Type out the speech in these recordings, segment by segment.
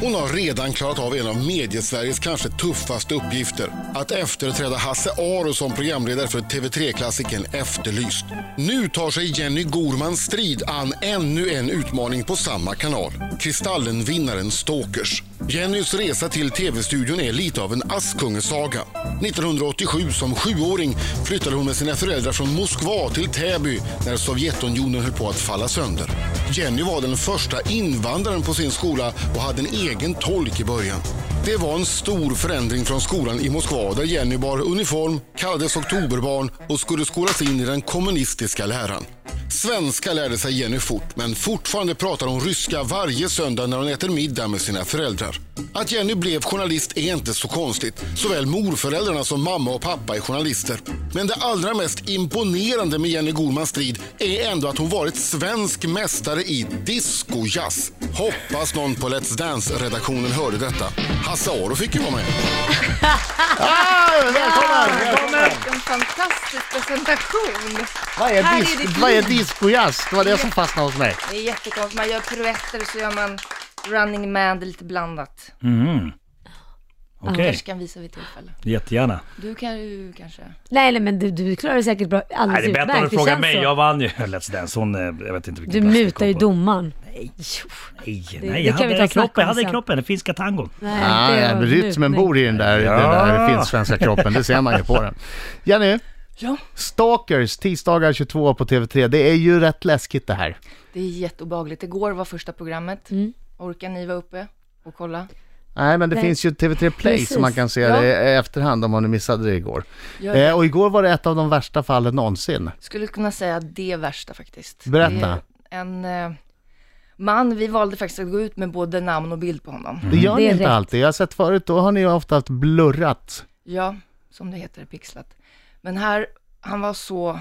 Hon har redan klarat av en av mediesveriges kanske tuffaste uppgifter. Att efterträda Hasse Aro som programledare för TV3-klassikern Efterlyst. Nu tar sig Jenny Gorman strid an ännu en utmaning på samma kanal. Kristallenvinnaren Stalkers. Jennys resa till tv-studion är lite av en Askungesaga. 1987 som sjuåring flyttade hon med sina föräldrar från Moskva till Täby när Sovjetunionen höll på att falla sönder. Jenny var den första invandraren på sin skola och hade en egen tolk i början. Det var en stor förändring från skolan i Moskva där Jenny bar uniform, kallades oktoberbarn och skulle skolas in i den kommunistiska läran. Svenska lärde sig Jenny fort, men fortfarande pratar hon ryska varje söndag när hon äter middag med sina föräldrar. Att Jenny blev journalist är inte så konstigt. Såväl morföräldrarna som mamma och pappa är journalister. Men det allra mest imponerande med Jenny Gormans strid är ändå att hon varit svensk mästare i discojazz. Hoppas någon på Let's Dance-redaktionen hörde detta. Hasse Aro fick ju vara med. Välkommen! Vilken fantastisk presentation! Vad är, Här är dis- ditt vad är liv. discojazz? Det var det som fastnade hos mig. Det är jättekonstigt, man gör piruetter och så gör man running man, det är lite blandat. Okej, Kanske kan visa vid tillfälle. jättegärna. Du kan ju kanske... Nej, nej men du, du klarar det säkert bra. Nej, Alldeles det är bättre utmärkt. att du frågar känns mig. så. Jag vann ju Let's Dance. Hon, eh, jag vet inte vilken Du plats det mutar kom ju på. domaren. Nej, det nej, jag kan vi hade ta och snacka kroppen, jag om hade sen. kroppen, den finska tangon. Nej, Ah, det ja, var rytmen mutning. bor i den där, Ja. den där finsk-svenska kroppen, det ser man ju på den. Jenny, Ja. Stalkers, tisdagar 22 på TV3. Det är ju rätt läskigt det här. Det är jätteobehagligt. Igår var första programmet. Orkar ni vara uppe och kolla? Nej, men det Nej. finns ju TV3 Play Precis. som man kan se Ja. det i efterhand om man missade det igår. Gör det. Eh, och igår var det ett av de värsta fallen någonsin. Skulle kunna säga det värsta faktiskt. Berätta. Det är En eh, man, vi valde faktiskt att gå ut med både namn och bild på honom. Det Mm. gör Det ni är inte rätt. alltid. Jag har sett förut, då har ni ju ofta haft blurrat. Ja, som det heter, pixlat. Men här, han var så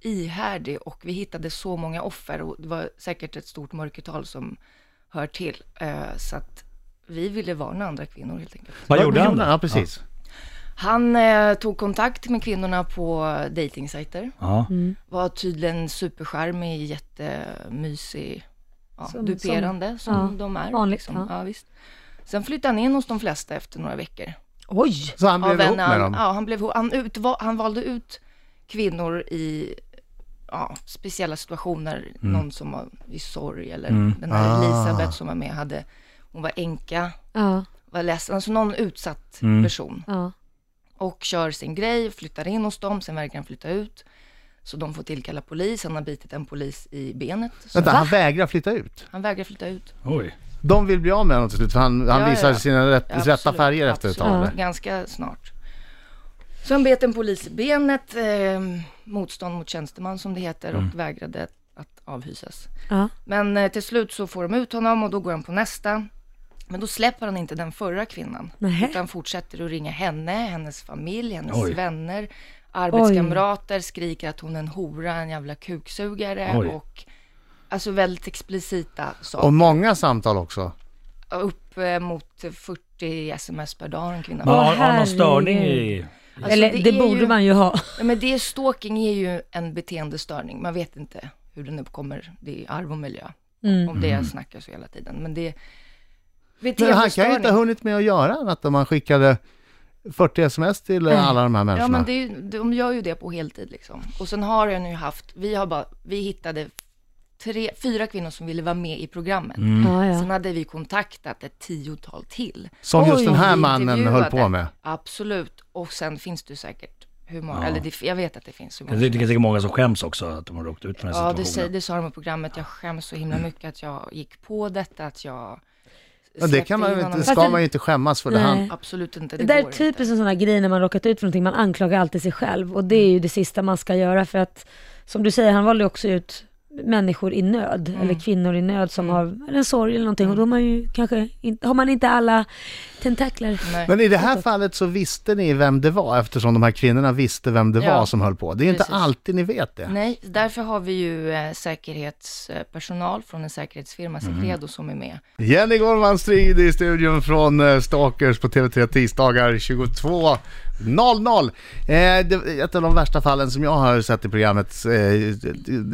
ihärdig och vi hittade så många offer och det var säkert ett stort mörkertal som hör till. Eh, så att vi ville varna andra kvinnor helt enkelt. Vad gjorde han? Ja, precis. Han eh, tog kontakt med kvinnorna på dejtingsajter. Ja. Var tydligen superskärmig, jättemysig, ja, Som- duperande som, ja, de är. liksom. vanligt, ja. Ja, visst. Sen flyttade han in hos de flesta efter några veckor. Oj! Så han av blev ihop en, med han, dem. ja, han, blev, ihop- han, ut, han valde ut kvinnor i ja, speciella situationer. Någon som var i sorg eller den här Mm. Ah. Elisabeth som var med hade, hon var änka, Ja, var ledsen, alltså någon utsatt Mm. person. ja. Och kör sin grej, flyttar in hos dem, sen vägrar han flytta ut. Så de får tillkalla polis, han har bitit en polis i benet. Så Vänta, han vägrar flytta ut. han vägrar flytta ut. Oj. De vill bli av med honom till slut, för han, han Ja, ja, visar ja. sina rätt, Ja, rätta absolut, färger efter ett tag. absolut. där. Ganska snart. Så han bet en polis i benet, eh, motstånd mot tjänsteman som det heter, Mm. och vägrade att avhysas. ja. Men eh, till slut så får de ut honom och då går han på nästa. Men då släpper han inte den förra kvinnan, Nähä. utan fortsätter att ringa henne, hennes familj, hennes Oj. vänner, arbetskamrater, skriker att hon är en hora, en jävla kuksugare Oj. och alltså väldigt explicita saker. Och många samtal också. Upp eh, mot 40 sms per dag har en kvinna. Man har, har någon herregud. störning i... Alltså, Eller det, är borde ju, man ju ha. Nej, men det är stalking är ju en beteendestörning. Man vet inte hur den uppkommer. Det är arv och miljö. Om det snackas hela tiden. Men det är Mm. Men han kan ju inte ha beteendestörning. hunnit med att göra annat om han skickade 40 sms till eh, alla de här Ja, människorna. men det är, ju- de gör ju det på heltid liksom. Och sen har den ju haft, vi har bara, vi hittade tre, fyra kvinnor som ville vara med i programmet. Mm. Ja, ja. Sen hade vi kontaktat ett tiotal till. Som just Oj, den här vi mannen höll på intervjuade. med. Absolut. Och sen finns det ju säkert hur många, eller det, jag vet att det finns hur många. Det som är säkert många som skäms också att de har råkat ut för den här Ja, det, säger, situationen. det sa de i programmet. Jag skäms så Mm. himla mycket att jag gick på detta, att jag Men det kan man ju släppte in inte, honom. ska Fast det- man ju inte skämmas för. Det Nej. han, Absolut inte, Det det, där typ- är går typiskt inte. en sån här grej när man råkat ut för någonting, man anklagar alltid sig själv och det är ju det sista man ska göra för att, som du säger, han valde ju också ut människor i nöd, Mm. eller kvinnor i nöd som har en sorg eller någonting och då har man ju kanske inte, har man inte alla tentakler. Nej. men i det här fallet så visste ni vem det var eftersom de här kvinnorna visste vem det Ja, var som höll på. Det är ju inte precis. alltid ni vet det. Nej, därför har vi ju eh, säkerhetspersonal från en säkerhetsfirma, Mm. Secredo, som är med. Jenny Gorman Strid i studion från eh, Stalkers på TV3 tisdagar 22.00. Eh, det- Ett av de värsta fallen som jag har sett i Mm. programmet, eh, i-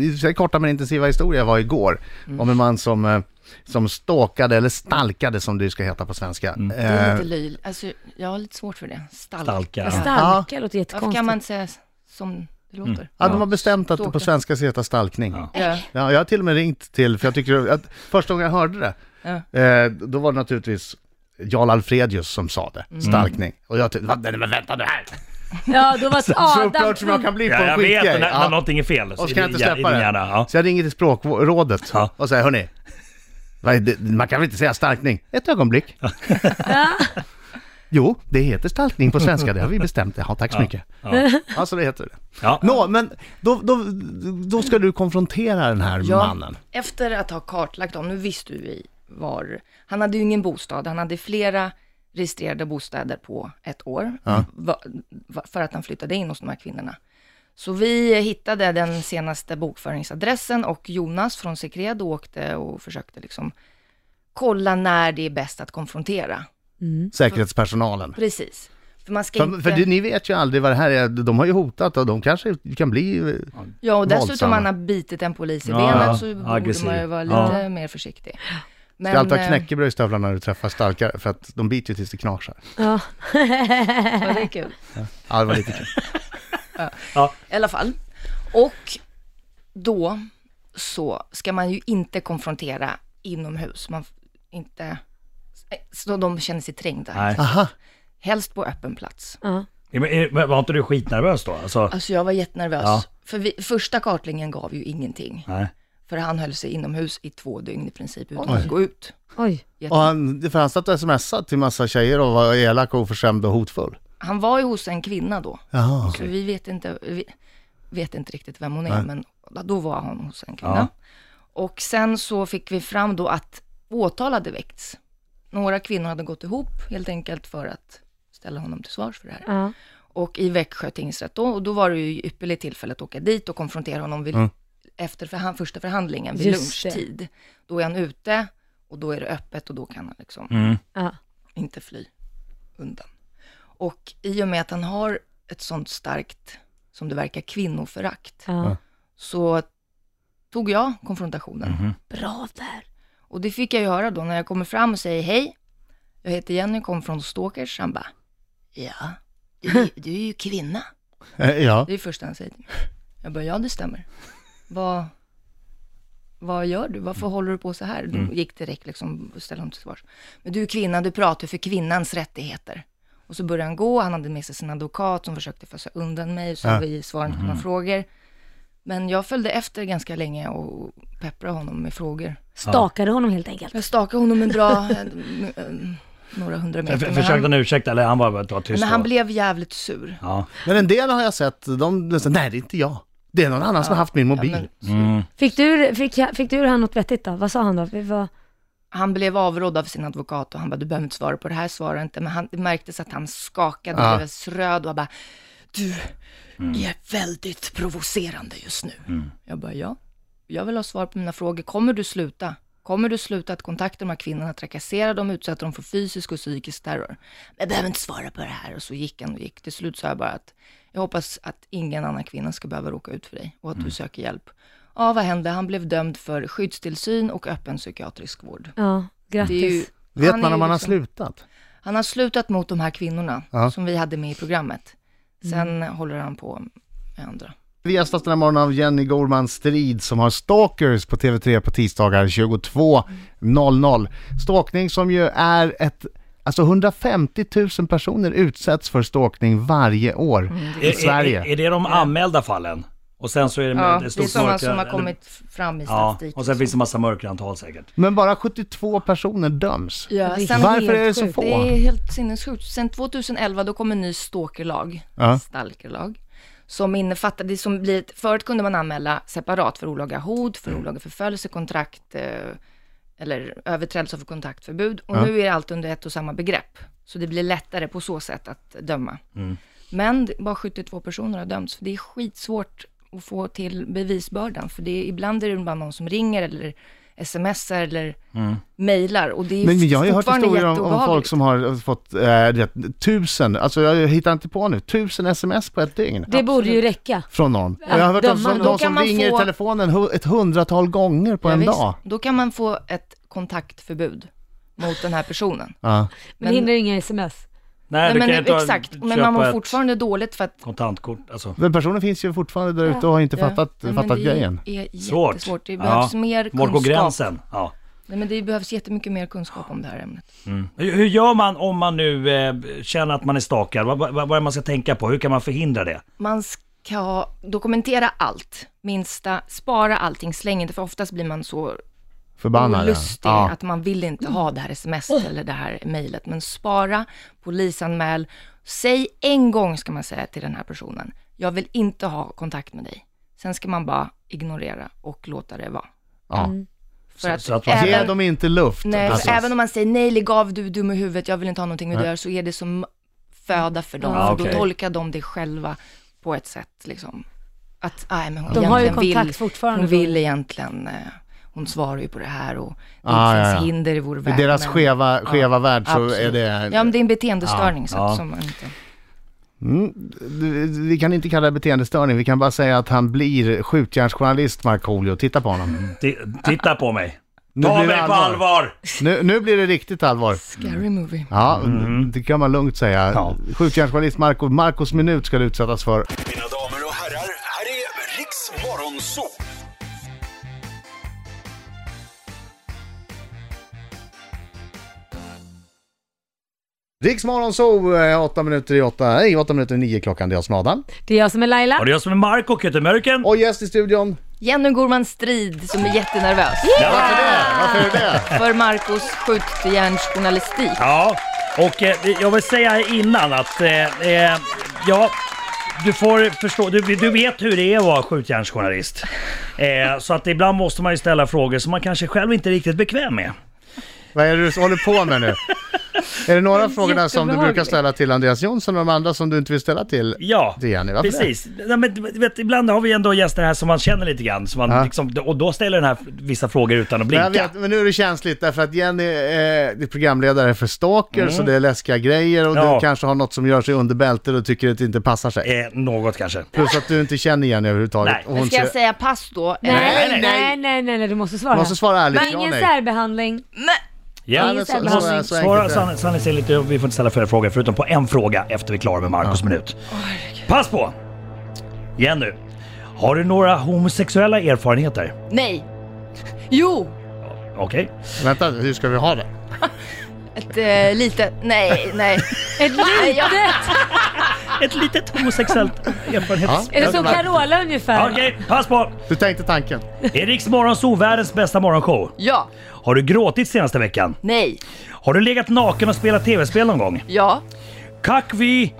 i- i- korta men intensiva historia, var igår. Om en man som eh, som stalkade, eller stalkade som det ska heta på svenska. Mm. Det är lite Eh, löjligt. Alltså, jag har lite svårt för det. Stalk. Stalka. Ja. Ja. Starka låter Varför jättekonstigt. kan man inte säga som det låter? Mm. Eh, ja, de har bestämt att det på Stalka. svenska ska heta stalkning. Ja. Ja. Ja, jag har till och med ringt till, för jag tycker att första gången jag hörde det, Ja. eh, då var det naturligtvis Jarl Alfredius som sa Mm. det, stalkning. Och jag tyckte, "Vad- nej men vänta nu här! Ja, då var Så Adam... upprörd som jag kan bli på Ja, en jag vet skitgrej. när, när Ja. någonting är fel. Och så i kan jag din inte hjär- i släppa din det. hjärna, Ja. Så jag ringer till språkrådet Ja. och säger, hörni, vad är det- man kan väl inte säga stalkning? Ett ögonblick. Jo, det heter stalkning på svenska, det har vi bestämt. Ja, tack så mycket. Ja. Alltså det heter det. Ja. Nå, men då, då, då ska du konfrontera den här Ja. mannen. Efter att ha kartlagt dem, nu visste ju vi var... Han hade ju ingen bostad, han hade flera registrerade bostäder på ett år. va- va- För att han flyttade in hos de här kvinnorna. Så vi hittade den senaste bokföringsadressen och Jonas från Sekred åkte och försökte liksom kolla när det är bäst att konfrontera. Mm. Säkerhetspersonalen. Precis. För man ska För, inte... för det, ni vet ju aldrig vad det här är, de har ju hotat och de kanske kan bli... eh, Ja, och dessutom Våldsamma. han har bitit en polis i Ja, benet ja. så borde Aggressiv. man ju vara Ja. lite mer försiktig. Men, Ska alltid ha eh, knäckebröd i stövlarna när du träffar starkare, för att de biter ju tills det knasar. Ja. eh, Ja, det är kul. Ja, det var lite kul. I alla fall. Och då så ska man ju inte konfrontera inomhus. Man f- inte... Så de känner sig trängda. Liksom. Nej. Aha, Helst på öppen plats. Ja. Men, är- men var inte du skitnervös då? Alltså, Alltså jag var jättenervös. Ja. För vi, första kartlingen gav ju ingenting. nej. För han höll sig inomhus i två dygn i princip utan att gå ut. Oj. Jätte- och han, det- för han satt och smsade till massa tjejer och var elak och oförskämd och hotfull. Han var ju hos en kvinna då. Jaha. Så vi vet inte, vi vet inte riktigt vem hon är, men då var hon hos en kvinna. Och sen så fick vi fram då att åtal hade väckts. Några kvinnor hade gått ihop helt enkelt för att ställa honom till svars för det här. Ja. Och i Växjö tingsrätt då, och då var det ju ypperligt tillfälle att åka dit och konfrontera honom vid, efter förhan- första förhandlingen vid Just det. lunchtid. Då är han ute och då är det öppet och då kan han liksom Mm. Ja. inte fly undan. Och i och med att han har ett sånt starkt, som det verkar, kvinnoförakt, Ja. så tog jag konfrontationen. Bra där. Och det fick jag ju höra då när jag kommer fram och säger hej, jag heter Jenny, kom från Stalkers. Han bara, ja, du, är- du är ju kvinna. Eh, Ja, Det är det första han säger till mig. Jag bara, ja det stämmer. Vad, vad gör du? Varför Mm. håller du på så här? Du gick direkt liksom och ställde honom till svars. Men du är kvinna, du pratar för kvinnans rättigheter. Och så började han gå, han hade med sig sin advokat som försökte fösa undan mig, så vi svarade inte på Mm. några frågor. Men jag följde efter ganska länge och pepprade honom med frågor. Stakade honom helt enkelt. Jag stakade honom en bra, en- en- några hundra meter. För, men försökte han, han ursäkta eller han var bara var tyst? men han då? blev jävligt sur. Ja. men en del har jag sett, de de säger nej det är inte jag. Det är någon annan som har haft min mobil. men- Mm. Fick du, fick, fick du ur han något vettigt då? Vad sa han då? Vi var, Han blev avrådd av sin advokat och han bara, du behöver inte svara på det här, svara inte. Men han, det märktes att han skakade och Ja. blev alldeles röd och han bara, du är väldigt provocerande just nu. Jag bara, ja, jag vill ha svar på mina frågor. Kommer du sluta? Kommer du sluta att kontakta de här kvinnorna, trakassera dem, utsätta dem för fysisk och psykisk terror? Men jag behöver inte svara på det här. Och så gick han och gick. Till slut sa jag bara att jag hoppas att ingen annan kvinna ska behöva råka ut för dig och att du söker hjälp. Ja, vad hände? Han blev dömd för skyddstillsyn och öppen psykiatrisk vård. ja, Det är ju, grattis. Vet han är man ju om man har liksom- slutat? Han har slutat mot de här kvinnorna Ja. Mm. som vi hade med i programmet. Sen håller han på med andra. Vi gästas den här morgonen av Jenny Gorman Strid som har Stalkers på TV3 på tisdagar 22.00. Stalkning som ju är ett Alltså 150 000 personer utsätts för stalkning varje år Mm. i Är, Sverige. är, är det de anmälda fallen? Och sen så är det med Ja, ett det stort är sådana mörker- som har eller- kommit fram i Ja, statistiken. och sen finns det massa mörkerantal säkert. Men bara 72 personer döms. Ja, Det är sen- Varför är det så sjukt. få? Det är helt sinnessjukt. Sen 2011 då kom en ny stalkerlag, Ja. stalkerlag, som innefattar, det som blir, ett- förut kunde man anmäla separat för olaga hot, för Mm. olaga förföljelse, kontrakt eh, eller överträdelse av kontaktförbud. Och nu är det allt under ett och samma begrepp. Så det blir lättare på så sätt att döma. Men det- bara 72 personer har dömts, för det är skitsvårt att få till bevisbördan. För det är, ibland är det bara någon som ringer eller smsar eller mejlar. Och det är Mm. Men, men jag har ju hört fortfarande historier om, om folk jätteobehagligt. som har fått eh, rätt, tusen, alltså jag hittar inte på nu, tusen sms på ett dygn. Det borde ju räcka. Från någon. Och jag har hört döma om som- någon. de Då kan som man ringer i få- telefonen hu- ett hundratal gånger på Ja, en visst. dag. Då kan man få ett kontaktförbud mot den här personen. Ja. Men det hindrar ju inga sms. Nej, Nej, du kan men, ju ta, exakt, men köpa man mår ett fortfarande dåligt för att... kontantkort. Alltså. Men personen finns ju fortfarande där ute och har inte fattat, Ja, men fattat det grejen. är Svårt. jättesvårt. Det Ja. behövs mer Var kunskap. går gränsen? Ja. Nej, men det behövs jättemycket mer kunskap om det här ämnet. Hur hur gör man om man nu eh, känner att man är stalkad? Vad, vad, vad är det man ska tänka på? Hur kan man förhindra det? Man ska dokumentera allt, minsta, spara allting, släng inte, för oftast blir man så Förbannad. ja. olustig, Ja. att man vill inte ha det här sms eller det här mejlet. Men spara, polisanmäl, säg en gång ska man säga till den här personen, jag vill inte ha kontakt med dig. Sen ska man bara ignorera och låta det vara. Ja. För att, så att man- Ge även, dem inte luft. nej, för Alltså. även om man säger nej, lägg av, du är dum i huvudet, jag vill inte ha någonting med det att göra, så är det som föda för dem, Ja, för okej. då tolkar de det själva på ett sätt liksom. Att, nej men hon De har ju egentligen kontakt vill, fortfarande. Hon vill egentligen, eh, hon svarar ju på det här och det Ah, finns ja, ja. hinder i vår I värld. deras men- skeva, skeva värld så Absolut. är det... Mm. Ja, men det är en beteendestörning så ja. att, som man inte... Vi kan inte kalla det beteendestörning, vi kan bara säga att han blir skjutjärnsjournalist Markoolio. Titta på honom. T- titta på mig. Nu Ta blir det mig på allvar! Nu, nu blir det riktigt allvar. Scary movie. Ja, det kan man lugnt säga. Ja. Skjutjärnsjournalist Marco, Marcos minut ska du utsättas för. Mina damer och herrar, här är Riks Morgonzoo! Riksmorgon så eh, åtta minuter i åtta, nej åtta minuter i nio klockan, det är jag som är Adam. Det är jag som är Laila. Var det jag som är Marco Kuttemörken? Och gäst i studion. Jenny Gorman Strid som är jättenervös Varför det? Varför är det? för Marcos skjutjärnsjournalistik. Ja, och eh, jag vill säga här innan att, eh, eh, ja, du får förstå, du, du vet hur det är att vara skjutjärnsjournalist. Eh, så att ibland måste man ju ställa frågor som man kanske själv inte är riktigt bekväm med. Vad är det du håller på med nu? Är det några frågorna som du brukar jättebehagligt. ställa till Andreas Jonsson och de andra som du inte vill ställa till? Ja, Det är ni, varför precis. Nej, men, du vet, ibland har vi ändå gäster här som man känner lite grann, som man, Ja. liksom, och då ställer den här vissa frågor utan att Men, blinka. jag vet, men nu är det känsligt därför att Jenny eh, är programledare för Stalker så det är läskiga grejer och du Mm. Ja. kanske har något som gör sig under bältet och tycker att det inte passar sig. Eh, något kanske. Plus att du inte känner Jenny överhuvudtaget. Nej. Och Men hon ska jag ser... säga pass då? Eh, Nej, nej, nej, nej, nej, nej, du måste svara. Du måste svara ärligt, Men ja, ingen nej. särbehandling. Ja. Ingen så- så- särbehandling. så- Svara enkelt är det. Sanne- Sanne säger lite, vi får inte ställa fler frågor förutom på en fråga efter vi är klara med Marcos minut. Pass på! Jenny, har du några homosexuella erfarenheter? Nej. Jo, Okej. Vänta, hur ska vi ha det? ett eh, litet... Nej, nej. Ett litet! Ett litet homosexuellt erfarenhets... Ah. Är det som Carola ungefär? Okej, pass på! Du tänkte tanken. Är Riks Morgonzoo världens bästa morgonshow? Ja, Har du gråtit senaste veckan? nej, Har du legat naken och spelat tv-spel någon gång? ja. Kakvi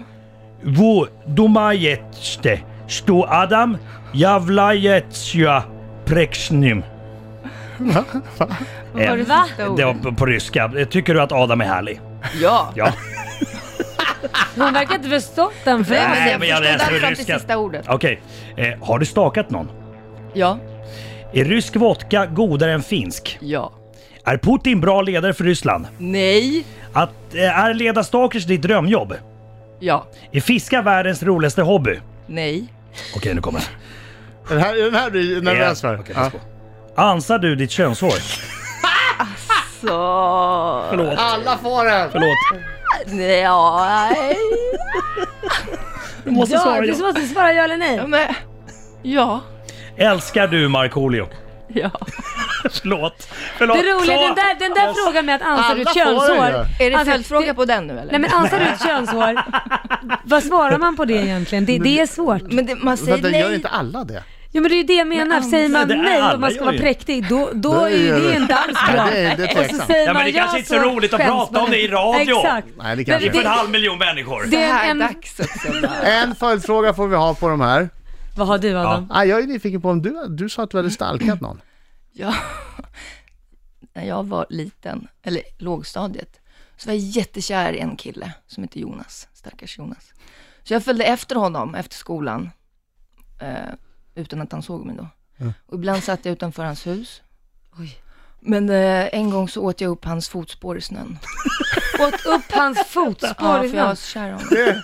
vo domajeste sto Adam javlajetsja preksnim. Vad var det Va? sista Det var ordet? på, på ryska. Tycker du att Adam är härlig? Ja. Ja. Hon verkar inte förstått den Nej, frasen. men jag förstod allt fram till sista ordet. Okej. Eh, har du stakat någon? Ja, Är rysk vodka godare än finsk? ja. Är Putin bra ledare för Ryssland? Nej, Att, eh, är leda stalkers ditt drömjobb? ja. Är fiska världens roligaste hobby? Okej, Nej, nu kommer den. Den här, den här blir ju nervös för. Eh, okej, pass på. Ansar du ditt könshår? så... Förlåt. Alla får den! Förlåt. Nej. Du måste Ja, svara du ja. måste svara ja eller nej. Men, ja, Älskar du Markoolio? ja. Förlåt. Förlåt. Det roliga, Så. den där, den där frågan med att ansar du Alla ett får den ju. könshår. Är det Alltså, följdfråga det- på den nu eller? Nej men ansar du ett könshår, vad svarar man på det egentligen? Det, det är svårt. men det, man säger Vänta, gör nej. inte alla det? Jo men det är ju det jag menar, ansar- säger man Det är nej alla om man ska gör vara ju. präktig, då, då Det är ju gör det det. inte alls bra. Nej, det är- det är Och så tveksamt. säger Ja, men man det kanske ja, inte är så så roligt att skäms prata man om det i inte. radio. Exakt. Nej, det Men kanske det- Inför en inte. halv miljon människor. Det är Här, en, en, dags också. bara. En följdfråga får vi ha på de här. vad har du Adam? Ah, jag är nyfiken på om du, du sa att du hade stalkat någon. Ja. När jag var liten, eller lågstadiet, så var jag jättekär i en kille som heter Jonas, stackars Jonas. Så jag följde efter honom efter skolan, eh, utan att han såg mig då. Och ibland satt jag utanför hans hus. Men eh, en gång så åt jag upp hans fotspår i snön. Åt upp hans fotspår Ja, i för jag var snön. så kär i honom.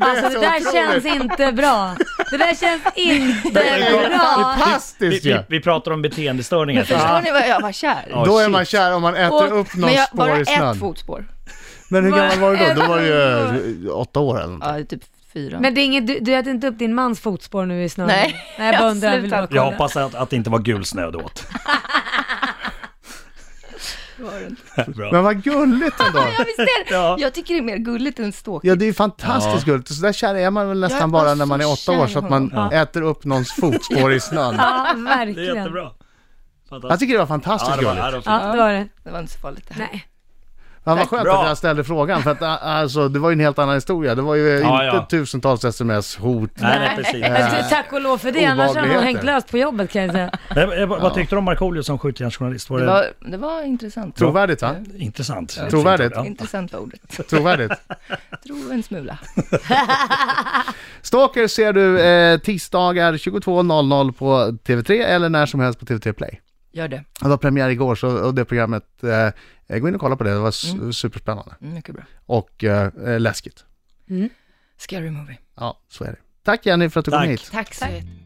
Alltså det där otroligt. känns inte bra. Det där känns inte Det är bra. Vi, fantastiskt ju! vi, vi pratar om beteendestörningar. Förstår ni vad jag var kär? Ja, Då är shit. man kär om man äter Och- upp Men någon jag, bara spår i ett snön. fotspår. Men hur Bara gammal var du då? ett Då var du ju eh, åtta år eller något. Ja, det är typ fyra. Men det är inget, du, du äter inte upp din mans fotspår nu i snön? Nej. Nej, jag bara undrar, jag vill bara Jag kolla. hoppas att, att det inte var gul snö du åt. Var det inte? Bra. Men vad gulligt ändå! Ja, visst är det. Ja. Jag tycker det är mer gulligt än stalking. Ja, det är ju fantastiskt gulligt. Så där kär är man väl Jag är nästan bara bara när man så är åtta kär år i så att man honom. äter upp nååns fotspår i snön. Ja, Det verkligen. är jättebra. Jag Fantastiskt. tycker det var Ja, fantastiskt det var, gulligt. ja, det var fint. Ja, det var det. Det var inte så farligt det här. Nej. Men vad skönt Bra. att jag ställde frågan för att ä, alltså, det var ju en helt annan historia. Det var ju Ja, inte ja. tusentals sms, hot. Nej, nej, precis. Men du, tack och lov för det, annars hade hon Obehagligheter. hängt löst på jobbet kan jag säga. Nej, men jag bara- eh, Vad tyckte du om Markoolio som skjutjärnsjournalist? Var Det det, var, det var intressant. Trovärdigt va? intressant? Liksom. Trovärdigt. Ja. Intressant var ordet. Trovärdigt. Tro en smula. Stalker ser du eh, tisdagar 22.00 på TV3 eller när som helst på TV3 Play. Gör det. Det var premiär igår så och det programmet, eh, gå in och kolla på det, det var su- superspännande Mm, Mycket bra. och eh, läskigt. Scary movie. Ja, så är det. Tack Jenny för att du kom Tack. hit. Tack så jättemycket.